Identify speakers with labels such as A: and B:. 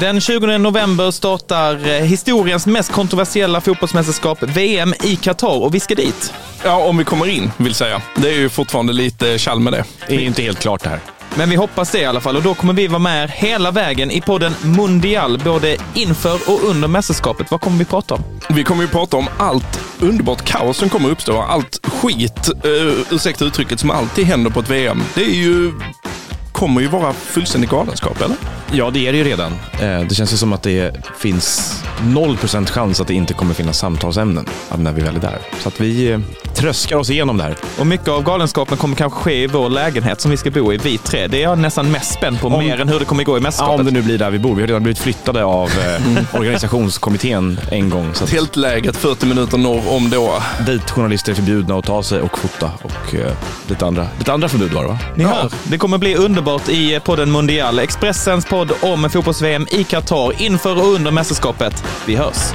A: Den 20 november startar eh, historiens mest kontroversiella fotbollsmästerskap, VM, i Qatar och vi ska dit.
B: Ja, om vi kommer in vill säga. Det är ju fortfarande lite tjall med det.
C: Det är ju inte helt klart det här.
A: Men vi hoppas det i alla fall och då kommer vi vara med er hela vägen i podden Mundial, både inför och under mästerskapet. Vad kommer vi prata om?
B: Vi kommer ju prata om allt underbart kaos som kommer uppstå. Allt skit, uh, ursäkta uttrycket, som alltid händer på ett VM. Det är ju kommer ju vara fullständig galenskap, eller?
C: Ja, det är det ju redan. Eh, Det känns ju som att det finns 0% chans att det inte kommer finnas samtalsämnen att när vi väl är där. Så att vi eh, tröskar oss igenom det här.
A: Och mycket av galenskapen kommer kanske ske i vår lägenhet som vi ska bo i, vi tre. Det är jag nästan mest spänd på, mer än hur det kommer gå i
C: Ja,
A: mästerskapet.
C: om det nu blir där vi bor. Vi har redan blivit flyttade av eh, organisationskommittén en gång. Så att
B: Tältlägret 40 minuter norr om då.
C: dit journalister är förbjudna att ta sig och fota och eh, lite andra, lite andra förbud var det va?
A: Ni hör, det kommer bli underbart i eh, podden Mundial, Expressens podd om fotbolls-VM i Qatar inför och under mästerskapet. Vi hörs!